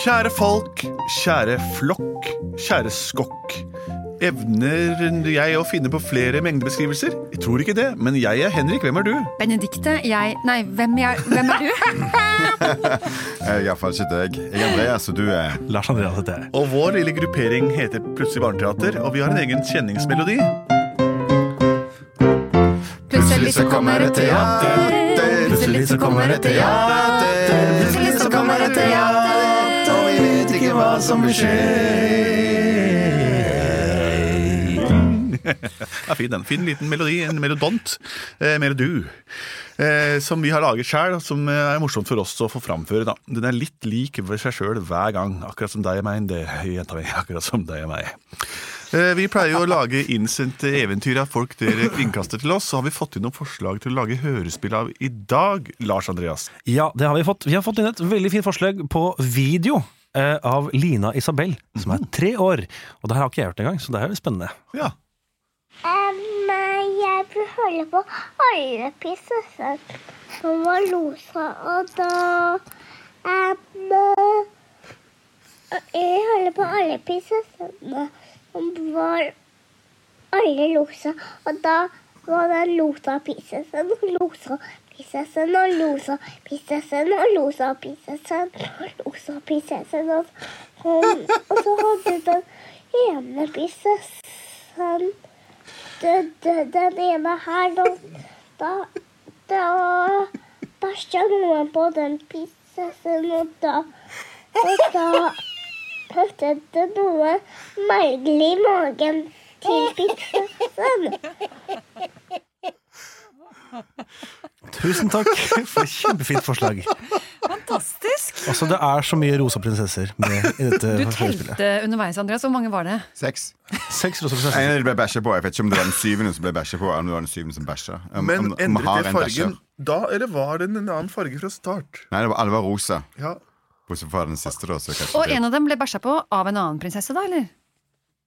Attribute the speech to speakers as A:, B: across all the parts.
A: Kjære folk, kjære flokk, kjære skokk. Evner jeg å finne på flere mengdebeskrivelser? Jeg tror ikke det, men jeg er Henrik. Hvem er du?
B: Benedikte, jeg Nei, hvem, jeg, hvem er du?
C: Iallfall ikke deg. Jeg er Andreas, og du er
A: Lars Andreas heter jeg. Og vår lille gruppering heter Plutselig barneteater, og vi har en egen kjenningsmelodi.
B: Plutselig så kommer et teater.
C: Plutselig så kommer et teater. Plutselig så kommer et teater. Og vi vet ikke hva som vil skje.
A: Ja, fin, den. fin liten melodi, en melodont, eh, melodu, eh, som vi har laget sjøl, og som eh, er morsomt for oss å få framføre. Da. Den er litt lik for seg sjøl hver gang, akkurat som deg og meg. Det, jenta mi, akkurat som deg og meg. Eh, vi pleier jo å lage innsendte eventyr av folk dere innkaster til oss. Så har vi fått inn noen forslag til å lage hørespill av i dag, Lars Andreas.
D: Ja, det har vi fått. Vi har fått inn et veldig fint forslag på video. eh, Av Lina Isabel, som er tre år. Og det her har ikke jeg hørt engang, så det er jo spennende.
A: Ja,
E: Um, jeg vil holde på oljeprinsessa som var losa, og da um, Jeg holder på oljeprinsessene som var alle losa, og da var det losa-prinsessen, losa-prinsessen og losa-prinsessen og losa-prinsessen og losa-prinsessen. Og, og, og så hadde den ene prinsessen den, den, den ene her da, da, da bæsja noen på den prinsessen, og da Og da prøvde det noe merkelig i magen til prinsessen.
D: Tusen takk for et kjempefint forslag.
B: Fantastisk.
D: Altså, Det er så mye rosa prinsesser med i dette
B: Du
D: forespillet.
B: telte underveis, Andreas. Hvor mange var det?
C: Seks.
D: Seks rosa
C: En
D: prinsesser.
C: av de ble bæsja på. Jeg vet ikke om det var den syvende som ble bæsja på. Eller om det var den syvende som bæsja. Om-
A: Men
C: om- om har
A: endret det
C: en
A: fargen
C: bæsjer.
A: da, eller var det en annen farge fra start?
C: Nei, det var, alle var rosa.
A: Ja,
C: Bortsett fra den siste, da. Så kanskje
B: Og
C: det-
B: en av dem ble bæsja på av en annen prinsesse, da, eller?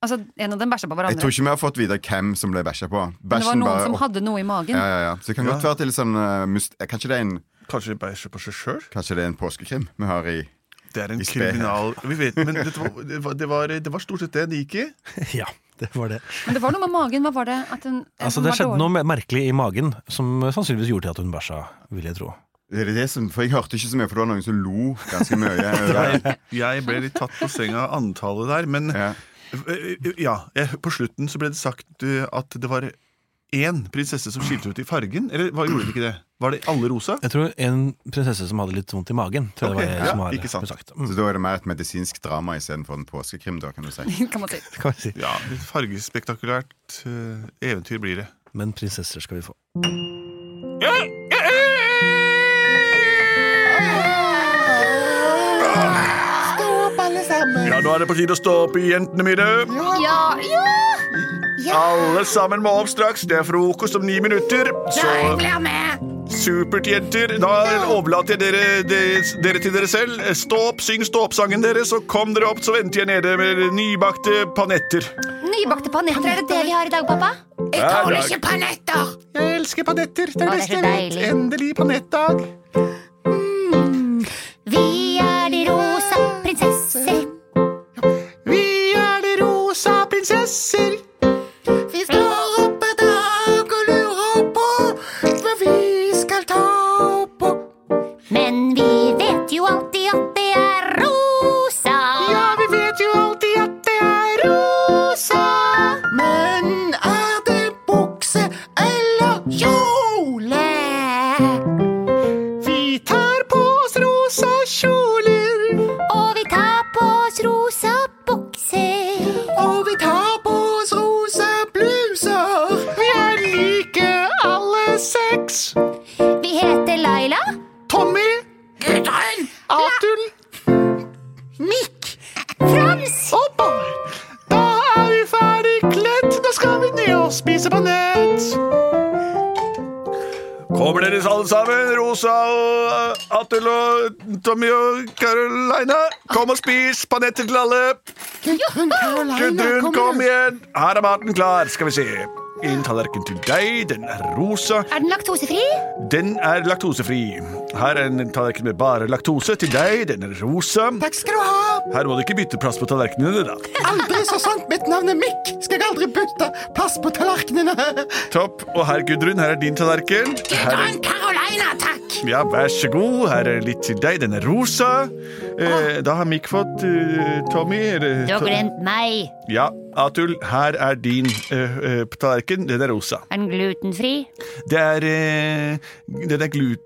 B: Altså, en av dem bæsja på
C: jeg tror
B: hverandre.
C: ikke vi har fått vite hvem som ble bæsja på.
B: Men det var
C: Bæsjen
B: noen
C: bare
B: som
C: opp.
B: hadde noe i magen.
C: Ja, ja, ja. Så det kan godt være til sånn uh, must... eh, Kanskje det er en,
A: Kanskje de bæsjer på seg sjøl?
C: kanskje det er en påskekrim vi har i
A: Det er en
C: I spe.
A: kriminal... Vi vet, men dette var, det, var, det, var, det var stort sett det det gikk i.
D: Ja, det var det.
B: Men det var noe med magen. Hva var det? At den,
D: Altså,
B: den
D: Det
B: var
D: skjedde
B: dårlig?
D: noe mer- merkelig i magen som sannsynligvis gjorde til at hun bæsja, vil jeg tro.
C: Det er det som, For jeg hørte ikke så mye, for det var noen som lo ganske mye.
A: Jeg, jeg ble litt tatt på senga av antallet der, men ja.
C: ja.
A: jeg, På slutten så ble det sagt eh, at det var én prinsesse som skilte ut i fargen. Eller hva gjorde det ikke det? Var det alle rosa?
D: Jeg tror en prinsesse som hadde litt vondt i magen. Tror jeg
A: Ok,
D: det var
A: ja,
D: det som var
A: ikke sant.
D: sagt. Mm,
C: Så da er det mer et medisinsk drama istedenfor en påskekrim, da, kan du si.
B: kan man si.
D: kan jeg si.
A: Ja, litt fargespektakulært eh, eventyr blir det.
D: Men prinsesser skal vi få.
F: Stå opp, alle sammen.
A: Ja, nå er det på tide å stå opp, jentene mine.
F: Ja, ja.
A: Alle sammen må opp straks. Det er frokost om ni minutter. Så
F: blir med.
A: Supert, jenter. Da overlater jeg dere, de- dere til dere selv. Stå opp, syng stå-opp-sangen deres, og kom dere opp, så venter jeg nede med nybakte panetter.
F: Nybakte panetter, er det det vi har i dag, pappa? Jeg tåler ikke panetter.
A: Jeg elsker panetter. Det
F: Å, det er beste så jeg vet. deilig.
A: Endelig panettdag.
F: Mm. Vi er de rosa prinsesser.
A: Vi er de rosa prinsesser.
F: Vi står opp i dag og lurer på hva vi skal ta på. Men vi vet jo alltid at det er rosa. Ja, vi vet jo alltid at det er rosa. Men er det bukse eller kjole? Mikk. Frans.
A: Oppover! Da er vi ferdig kledd! Nå skal vi ned og spise baguett! Kommer dere alle sammen, Rosa og Atul og Tommy og Caroline? Kom og spis panetter til alle!
F: Gudrun Caroline,
A: Gudrun,
F: kom
A: kom
F: igjen.
A: igjen! Her er maten klar, skal vi se. En tallerken til deg, den er rosa,
F: Er den laktosefri?
A: den er laktosefri. Her er en tallerken med bare laktose til deg, den er rosa.
C: Takk skal du ha.
A: Her må du ikke bytte plass på tallerkenene, da.
C: Aldri så sant mitt navn er Mikk, skal jeg aldri bytte plass på tallerkenene.
A: Topp. Og her, Gudrun, her er din tallerken. Her er,
F: Gudrun Caroline, takk.
A: ja, vær så god. Her er litt til deg. Den er rosa. Eh, da har Mikk fått eh, Tommy eller,
F: Du har
A: To-
F: glemt meg.
A: Ja, Atul, her er din eh, eh, tallerken. Den er rosa.
F: Er den glutenfri?
A: Det er eh, Den er glut...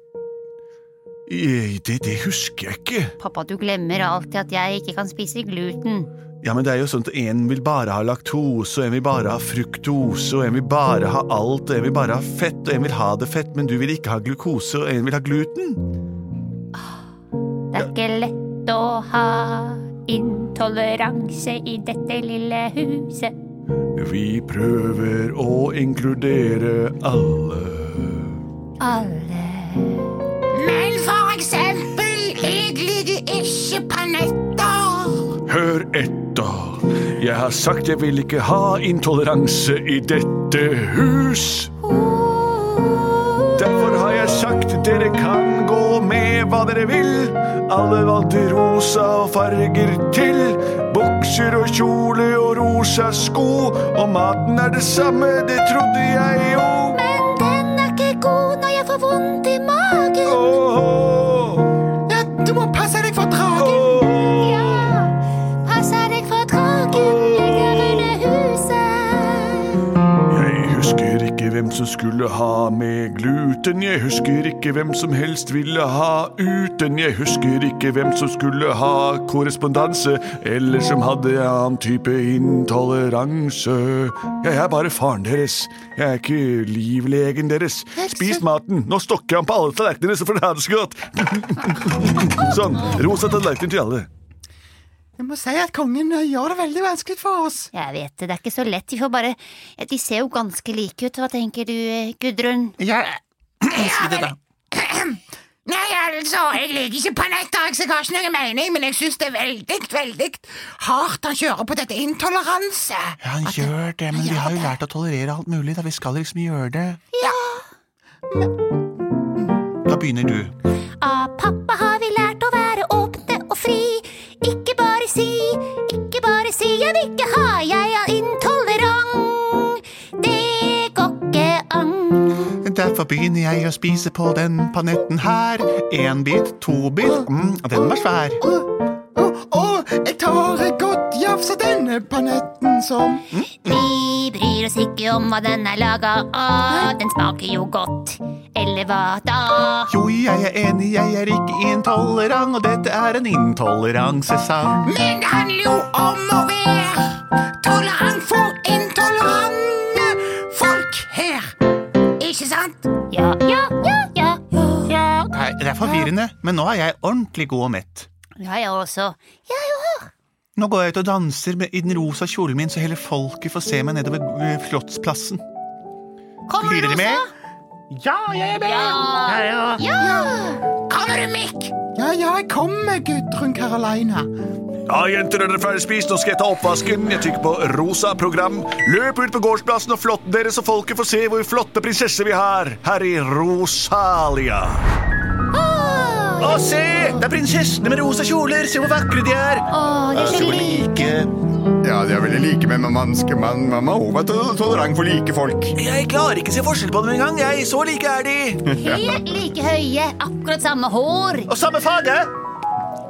A: Eh, Det, det husker jeg ikke.
F: Pappa, du glemmer alltid at jeg ikke kan spise gluten.
A: Ja, men det er jo sånn at En vil bare ha laktose, og en vil bare ha fruktose, og en vil bare ha alt, og en vil bare ha fett, og en vil ha det fett, men du vil ikke ha glukose, og en vil ha gluten.
F: Det er ikke lett å ha intoleranse i dette lille huset.
A: Vi prøver å inkludere alle.
F: Alle
G: Men for eksempel, jeg liker ikke panetter.
A: Hør etter. Jeg har sagt jeg vil ikke ha intoleranse i dette hus. Derfor har jeg sagt dere kan gå med hva dere vil. Alle valgte rosa og farger til. Bukser og kjole og rosa sko. Og maten er det samme, det trodde jeg jo.
F: Men den er ikke god når jeg får vondt i magen.
A: Åh,
C: Ja, du må passe deg for dragen.
A: åh.
F: Ja, passer deg for dragen. Jeg er under huset.
A: Jeg husker ikke hvem som skulle ha med gluten. Jeg husker ikke hvem som helst ville ha uten. Jeg husker ikke hvem som skulle ha korrespondanse, eller som hadde annen type intoleranse. Jeg er bare faren deres. Jeg er ikke livlegen deres. Spis maten. Nå stokker jeg om på alle tallerkenene, så får dere ha det så godt. Sånn. Rosa tallerkener til alle.
C: Jeg må si at kongen eh, gjør det veldig vanskelig for oss.
F: Jeg vet det, det er ikke så lett. De får bare De ser jo ganske like ut. Hva tenker du, Gudrun?
C: Jeg elsker det, da.
G: Nei, altså, jeg liker ikke panetter, så jeg har ikke noe mening, men jeg synes det er veldig, veldig hardt han kjører på dette intoleranse.
A: Ja, han gjør det, men vi har jo lært å tolerere alt mulig, da. Vi skal liksom gjøre det. Da begynner du.
F: Av pappa har vi lært å være åpne og fri. Ikke bare si, ikke bare si jeg vil ikke ha, jeg er intolerant. Det går ikke an.
A: Derfor begynner jeg å spise på den panetten her. Én bit, to bit. Mm, den var svær.
C: Å, å, jeg tar et godt jafs av denne panetten som
F: Vi bryr oss ikke om hva den er laga av, den smaker jo godt. Eller hva da?
A: Jo, jeg er enig, jeg er ikke intolerant, og dette er en intoleransesang.
G: Men det handler jo om å være tolerant for intolerante folk her. Ikke sant?
F: Ja, ja, ja, ja. ja.
A: Nei, det er forvirrende, men nå er jeg ordentlig god og mett.
F: Ja, jeg også. Ja, ja.
A: Nå går jeg ut og danser med, i den rosa kjolen min, så hele folket får se meg nedover eh, Slottsplassen.
F: Kommer
A: Blir
F: du,
A: dere med?
F: Rosa? Ja. ja.
G: Kommer du, Mikk?
C: Ja, ja, jeg kommer, Gudrun Carolina.
A: Ja, jenter, er dere ferdig spist? Nå skal jeg ta oppvasken. Jeg trykker på rosa program. Løp ut på gårdsplassen og flått dere, så folket får se hvor flotte prinsesser vi har her i Rosalia. Å, se! Det er prinsessene med rosa kjoler. Se hvor vakre de er.
F: Å, de er så
A: like.
C: Ja, det er veldig like, men man skal man, man må være tolerant for like folk.
A: Jeg klarer ikke å se forskjell på dem engang. Jeg, så like er de.
F: Helt like høye, akkurat samme hår.
A: Og samme farge.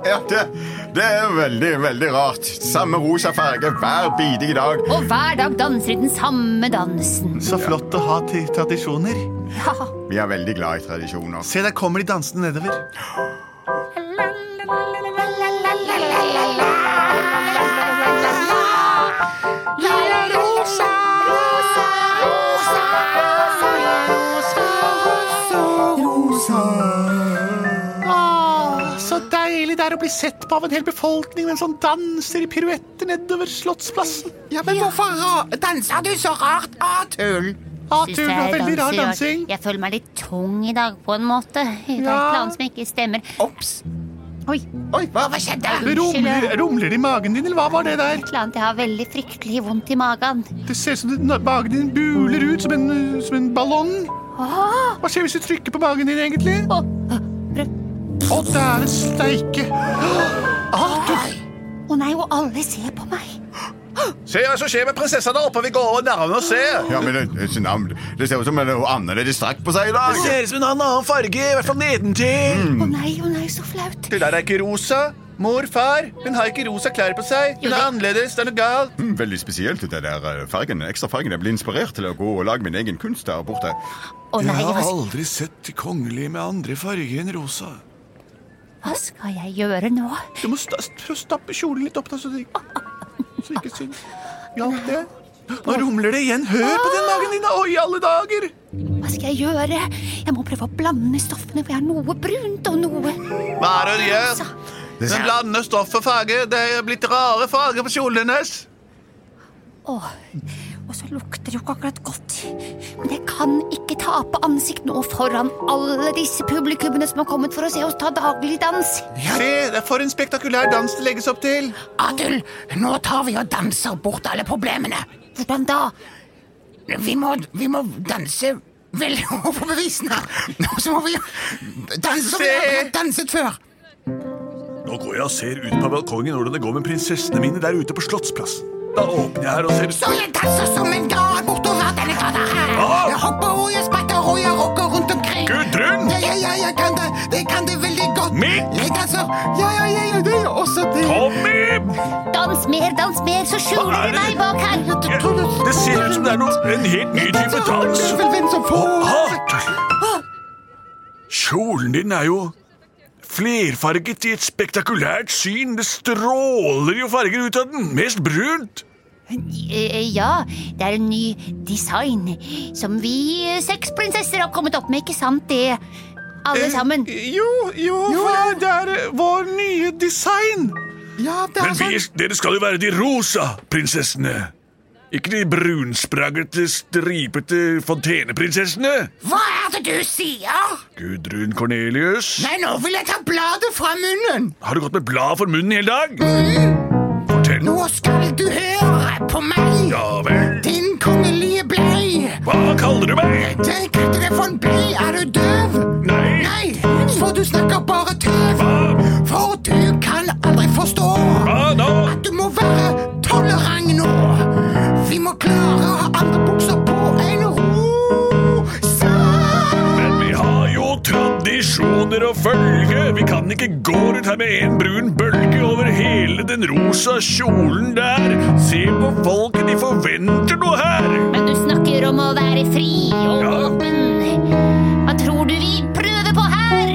C: Ja, det, det er veldig, veldig rart. Samme rosa farge hver bidige dag.
F: Og hver dag danser de den samme dansen.
A: Så flott å ha til tradisjoner.
C: Vi er veldig glad i tradisjoner.
A: Se, der kommer de dansende nedover.
C: Rosa.
A: Så deilig det er å bli bli sett på av en hel befolkning mens han danser i piruetter nedover Slottsplassen.
G: Ja, men hvorfor ra- danser du så rart? Ah, tull!
F: Synes
A: Atul var
F: jeg
A: veldig rar
F: danser-
A: dansing.
F: Jeg føler meg litt tung i dag, på en måte. Det er et eller annet som ikke stemmer. Et
G: Ops.
B: Oi.
G: Oi, hva, hva skjedde?
A: Rumler, rumler det i magen din, eller hva var det der?
F: eller annet jeg har veldig fryktelig vondt i magen.
A: Det ser ut som det- na- magen din buler ut som en, eh, som en ballong. Hva skjer hvis du trykker på magen din, egentlig?
F: Å,
A: Å, dæven steike! Atul!
F: å nei, og alle ser på meg.
C: Se hva som skjer med prinsessa der oppe. Vi går over nærmere og ser. Ja, men det, det, det ser ut som det er noe annerledes strekk på seg i dag.
A: ut som en annen farge, i hvert fall nedentil.
F: Å nei, å nei, så flaut.
A: Mm. Det der er ikke rosa. Mor, far, hun har ikke rosa klær på seg.
F: Jo, det-
A: annerledes, det er noe galt.
C: Mm, Veldig spesielt, det der eh, fargen, ekstra fargen. Jeg ble inspirert til å gå og lage min egen kunst der borte.
F: Å nei, hva,
A: aldri sett de kongelige med andre farger enn rosa.
F: hva skal jeg gjøre nå?
A: Du må sta prøv å stappe kjolen litt opp, da, så det ikke, så det ikke syns. Hjalp det? Nå rumler det igjen. Hør på den magen din! da. Oi, i alle dager!
F: Hva skal jeg gjøre? Jeg må prøve å blande stoffene, for jeg har noe brunt og noe
A: Hva er det du gjør?
F: rosa.
C: Det
A: Hun
C: ser,
A: blander stoff og farge. Det er blitt rare farger på kjolen hennes.
F: Åh, og så lukter det jo ikke akkurat godt. Men jeg kan ikke tape ansikt nå foran alle disse publikummene som har kommet for å se oss ta dagligdans.
A: Se, det er for en spektakulær dans det legges opp til.
G: Adul, nå tar vi og danser bort alle problemene.
F: Hvordan da?
G: Vi må, vi må danse veldig overbevisende. Og så må vi danse som vi aldri har danset før.
A: Nå går jeg og ser ut på balkongen hvordan det går med prinsessene mine der ute på Slottsplassen. Da åpner jeg her og ser
G: Så jeg danser som en gal bortover denne gata her. Jeg hopper og jeg spretter og jeg rocker rundt omkring.
A: Gudrun!
G: Ja, ja, ja, jeg kan det. Jeg kan det veldig godt.
A: Mitt!
G: Jeg danser. Ja, ja, ja, ja, det er også det.
A: Tommy!
F: Dans mer, dans mer, så
A: Hva
F: skjuler
A: er
F: du meg
A: det?
F: bak her.
A: Det ser ut som det er noe, en helt ny type dans.
G: Det er vel hvem som får.
A: Atul! Kjolen din er jo flerfarget i et spektakulært syn. Det stråler jo farger ut av den. Mest brunt.
F: Eh, Ja, det er en ny design som vi eh, seks prinsesser har kommet opp med, ikke sant det?
A: Eh,
F: Alle sammen.
A: Jo, jo, for det er vår nye design.
G: Ja, det er
A: Men vi,
G: sånn.
A: dere skal jo være de rosa prinsessene. Ikke de brunspraglete, stripete fonteneprinsessene.
G: Hva er det du sier?
A: Gudrun Cornelius.
G: Nei, nå vil jeg ta bladet fra munnen. Mm.
A: Har du gått med blad for munnen hele dag? Fortell.
G: Nå skal du høre på meg.
A: Ja vel.
G: Din kongelige blei.
A: Hva kaller du meg?
G: Jeg kalte deg for en blei. Er du døv?
A: Nei.
G: Nei, for du snakker bare tøv.
A: Hva?
G: For du kan aldri forstå.
A: Hva nå?
G: Du må være tolerant nå. Vi må klare å ha andre bukser på enn rosa.
A: Men vi har jo tradisjoner å følge. Vi kan ikke gå rundt her med en brun bølge over hele den rosa kjolen der. Se på folket, de forventer noe her.
F: Men du snakker om å være fri og
A: Ja.
F: åpen. Hva tror du vi prøver på her?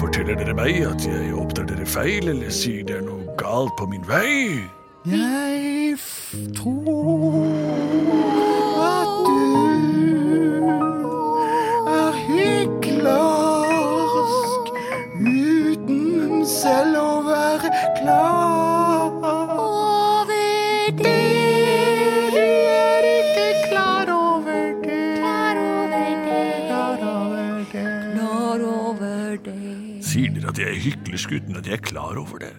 A: Forteller dere meg at jeg oppdrar dere feil, eller sier det er noe galt på min vei?
G: Jeg f- tror at du er hyklersk uten selv å være klar over det. Du er ikke klar over det. Klar over det. Klar over det.
A: Sier dere at jeg er hyklersk uten at jeg er klar over det?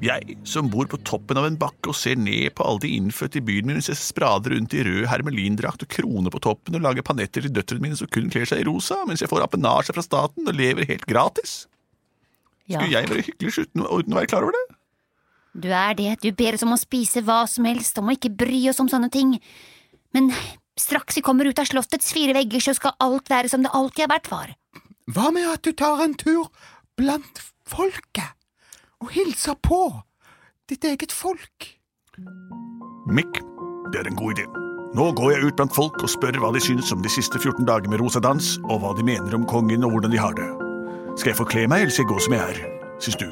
A: Jeg, som bor på toppen av en bakke og ser ned på alle de innfødte i byen min mens jeg sprader rundt i rød hermelindrakt og krone på toppen og lager panetter til døtrene mine som kun kler seg i rosa, mens jeg får apanasje fra staten og lever helt gratis?
F: Ja.
A: Skulle jeg være hyklersk uten, uten å være klar over det?
F: Du er det, du ber oss om å spise hva som helst, om å ikke bry oss om sånne ting. Men straks vi kommer ut av slottets fire vegger, så skal alt være som det alltid har vært, var.
G: Hva med at du tar en tur blant folket og hilser på ditt eget folk?
A: Mikk, det er en god idé. Nå går jeg ut blant folk og spør hva de synes om de siste 14 dager med rosa dans, og hva de mener om kongen og hvordan de har det. Skal jeg forkle meg, eller skal jeg gå som jeg er, synes du?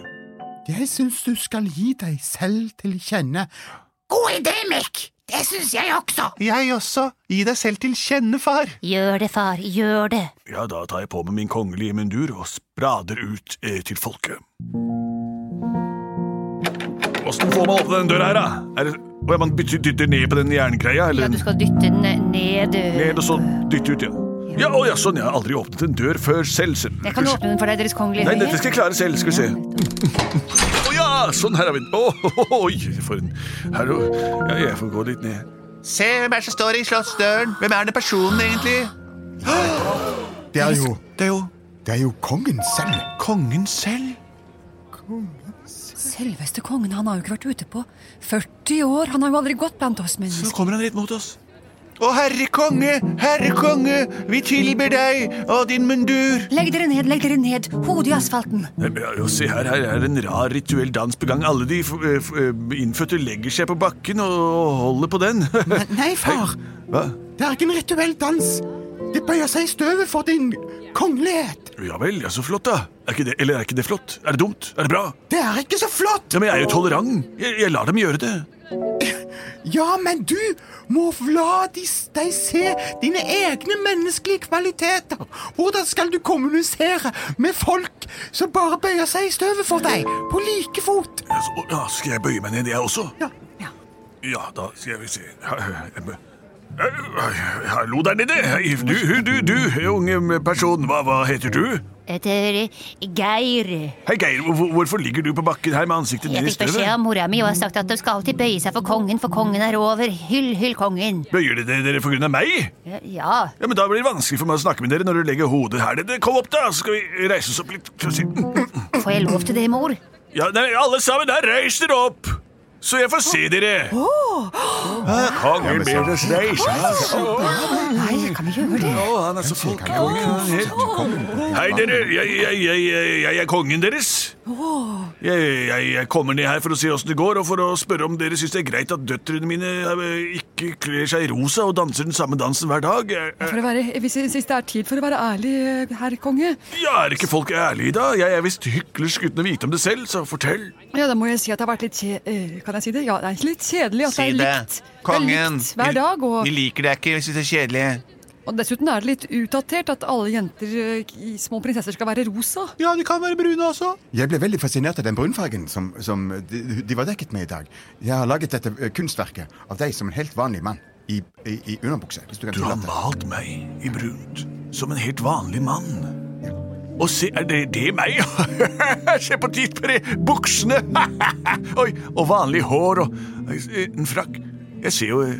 G: Jeg syns du skal gi deg selv til kjenne. God idé, Mikk! Det syns jeg også.
A: Jeg også. Gi deg selv til kjenne, far.
F: Gjør det, far, gjør det.
A: Ja, da tar jeg på meg min kongelige mundur og sprader ut eh, til folket. Åssen får man opp den døra her, da? Er det, Å ja, man bytter, dytter ned på den jerngreia? Eller
B: Ja, du skal dytte den ned. øh.
A: ned og så dytte ut, ja. Ja, å, ja, sånn. Jeg har aldri åpnet en dør før selv. selv.
B: Jeg kan åpne den for deg, Deres Kongelige
A: Nei,
B: Høyhet.
A: dette skal jeg klare selv. Skal vi se. Å ja, sånn. Her har vi den. Å, Oi, for en Her, jo. ja, Jeg får gå litt ned.
C: Se hvem er det som står i slottsdøren. Hvem er det personen, egentlig?
H: Det er jo,
A: Det er jo
H: det er jo kongen selv.
A: kongen selv.
B: Selveste kongen, han har jo ikke vært ute på 40 år. Han har jo aldri gått blant oss
A: Nå
B: mennesker.
A: kommer han rett mot oss.
C: Å, herre konge, herre konge, vi tilber deg og din mundur.
B: Legg dere ned, legg dere ned. Hodet i asfalten.
A: Nei, men, ja, Se her, her er en rar rituell dans på gang. Alle de f- eh, f- innfødte legger seg på bakken og holder på den.
G: Nei, far.
A: Hva?
H: Det er ikke en rituell dans. Det bøyer seg i støvet for din kongelighet.
A: Ja vel, ja, så flott, da. Er ikke det, eller er ikke det flott? Er det dumt? Er det bra?
H: Det er ikke så flott.
A: Ja, Men jeg er jo tolerant. Jeg, jeg lar dem gjøre det.
H: Ja, men du må la de- deg se dine egne menneskelige kvaliteter. Hvordan skal du kommunisere med folk som bare bøyer seg i støvet for deg, på like fot?
A: Ja, så, ja, så skal jeg bøye meg ned, jeg også?
H: Ja.
A: Ja, da skal vi se Her- jeg bø- Eh, Hallo der nede. Hei, Du, du, du, unge person, hva, hva heter du?
F: Etter Geir.
A: Hei, Geir, hvor- hvorfor ligger du på bakken her med ansiktet
F: Jeg
A: ned i
F: fikk beskjed
A: støvet?
F: av mora mi og har sagt at de skal alltid bøye seg for kongen, for kongen er over. Hyll, hyll kongen.
A: Bøyer dere dere på grunn av meg?
F: Ja,
A: Ja, men Da blir det vanskelig for meg å snakke med dere når dere legger hodet her nede. Kom opp, da, så skal vi reise oss opp litt. Skal vi se.
F: får jeg lov til det, mor?
A: Ja, nei, alle sammen, der reis dere opp! Så jeg får se dere. Kongen ber oss reise.
B: Nei, kan vi gjøre det?
A: Å, han er så folkekonge. han er helt- Hei, dere. Jeg, jeg, jeg, jeg, jeg er kongen deres. Jeg, jeg, jeg kommer ned her for å se åssen det går, og for å spørre om dere syns det er greit at døtrene mine eh, ikke kler seg i rosa og danser den samme dansen hver dag. Eh, eh,
I: For å være, hvis, hvis det er tid for å være ærlig, eh, herr konge,
A: Ja, er ikke folk ærlige, da? Jeg er visst hyklersk uten å vite om det selv, så fortell.
I: ja, da må jeg si at det har vært litt kje, eh, Kan jeg si det? Ja, det er litt kjedelig at
C: Si
I: det
C: det.
I: er likt. det er
C: Kongen.
I: likt hver dag.
C: Vi
I: Og,
C: liker deg ikke, vi syns det er kjedelig.
I: og dessuten er det litt utdatert at alle jenter, eh, i små prinsesser, skal være rosa.
C: Ja, de kan være brune også.
H: Jeg ble veldig fascinert av den brunfargen som, som de, de var dekket med i dag. Jeg har laget dette eh, kunstverket av deg som en helt vanlig mann i, i, i underbukse. Hvis du kan
A: Du har
H: tillate.
A: malt meg i brunt, som en helt vanlig mann. Og se, er det, det er meg? se på tittpere, buksene! Oi, og vanlig hår og eh, en frakk. Jeg ser jo, eh,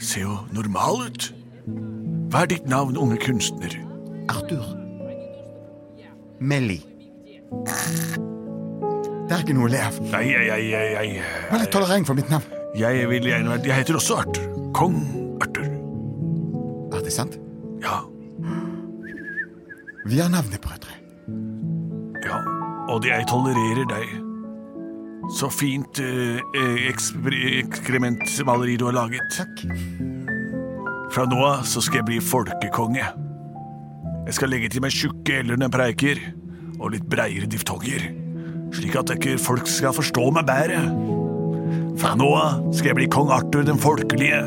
A: ser jo normal ut. Hva er ditt navn, unge kunstner?
H: Arthur. Melly. Det er ikke noe å le av.
A: Nei, jeg, jeg, jeg, jeg,
H: Vær litt tolerant for mitt navn.
A: jeg vil gjerne være Jeg heter også Arthur. Kong Arthur.
H: Er det sant?
A: Ja.
H: Vi er navnebrødre.
A: Ja, og jeg tolererer deg. Så fint eh, eh, ekspre- ekskrementmaleri du har laget.
H: Takk.
A: Fra nå av så skal jeg bli folkekonge. Jeg skal legge til meg tjukke eller når jeg preiker, og litt breiere diftonger, slik at ikke folk skal forstå meg bedre. Fra nå av skal jeg bli kong Arthur den folkelige.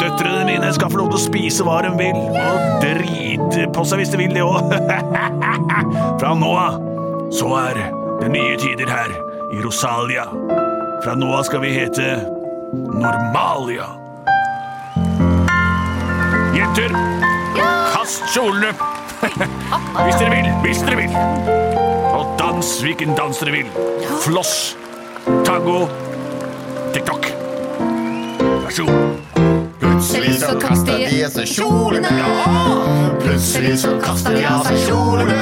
A: Døtrene mine skal få lov til å spise hva de vil, og drite på seg hvis de vil det òg. Fra nå av så er det nye tider her i Rosalia. Fra nå av skal vi hete Normalia. Jenter, kast kjolene! Hvis dere vil, hvis dere vil. Og dans hvilken dans dere vil. Floss, tango, tiktok. Vær så god.
H: Plutselig så kaster de av seg kjolene. Plutselig så kaster de av seg kjolene.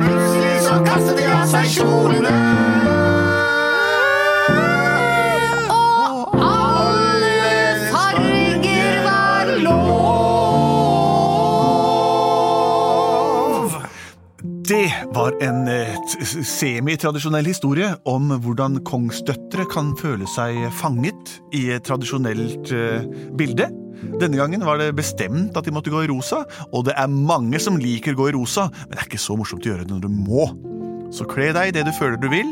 H: Plutselig så kaster de av seg kjolene. Og alle farger var lov.
A: Det var en eh, t- semitradisjonell historie om hvordan kongsdøtre kan føle seg fanget i et tradisjonelt eh, bilde. Denne gangen var det bestemt at de måtte gå i rosa, og det er mange som liker å gå i rosa, men det er ikke så morsomt å gjøre det når du må. Så kle deg i det du føler du vil,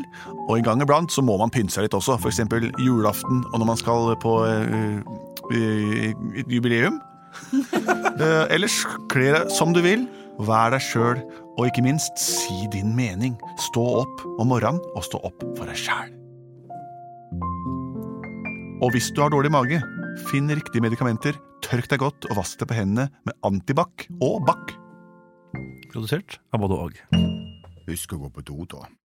A: og en gang iblant så må man pynte seg litt også, f.eks. julaften og når man skal på eh, eh, et jubileum. Eh, ellers, kle deg som du vil, vær deg sjøl, og ikke minst, si din mening. Stå opp om morgenen, og stå opp for deg sjæl.
J: Og hvis du har dårlig mage, finn riktige medikamenter, tørk deg godt og vask deg på hendene med antibac og bakk.
D: Produsert av både og.
C: Husk å gå på do, da.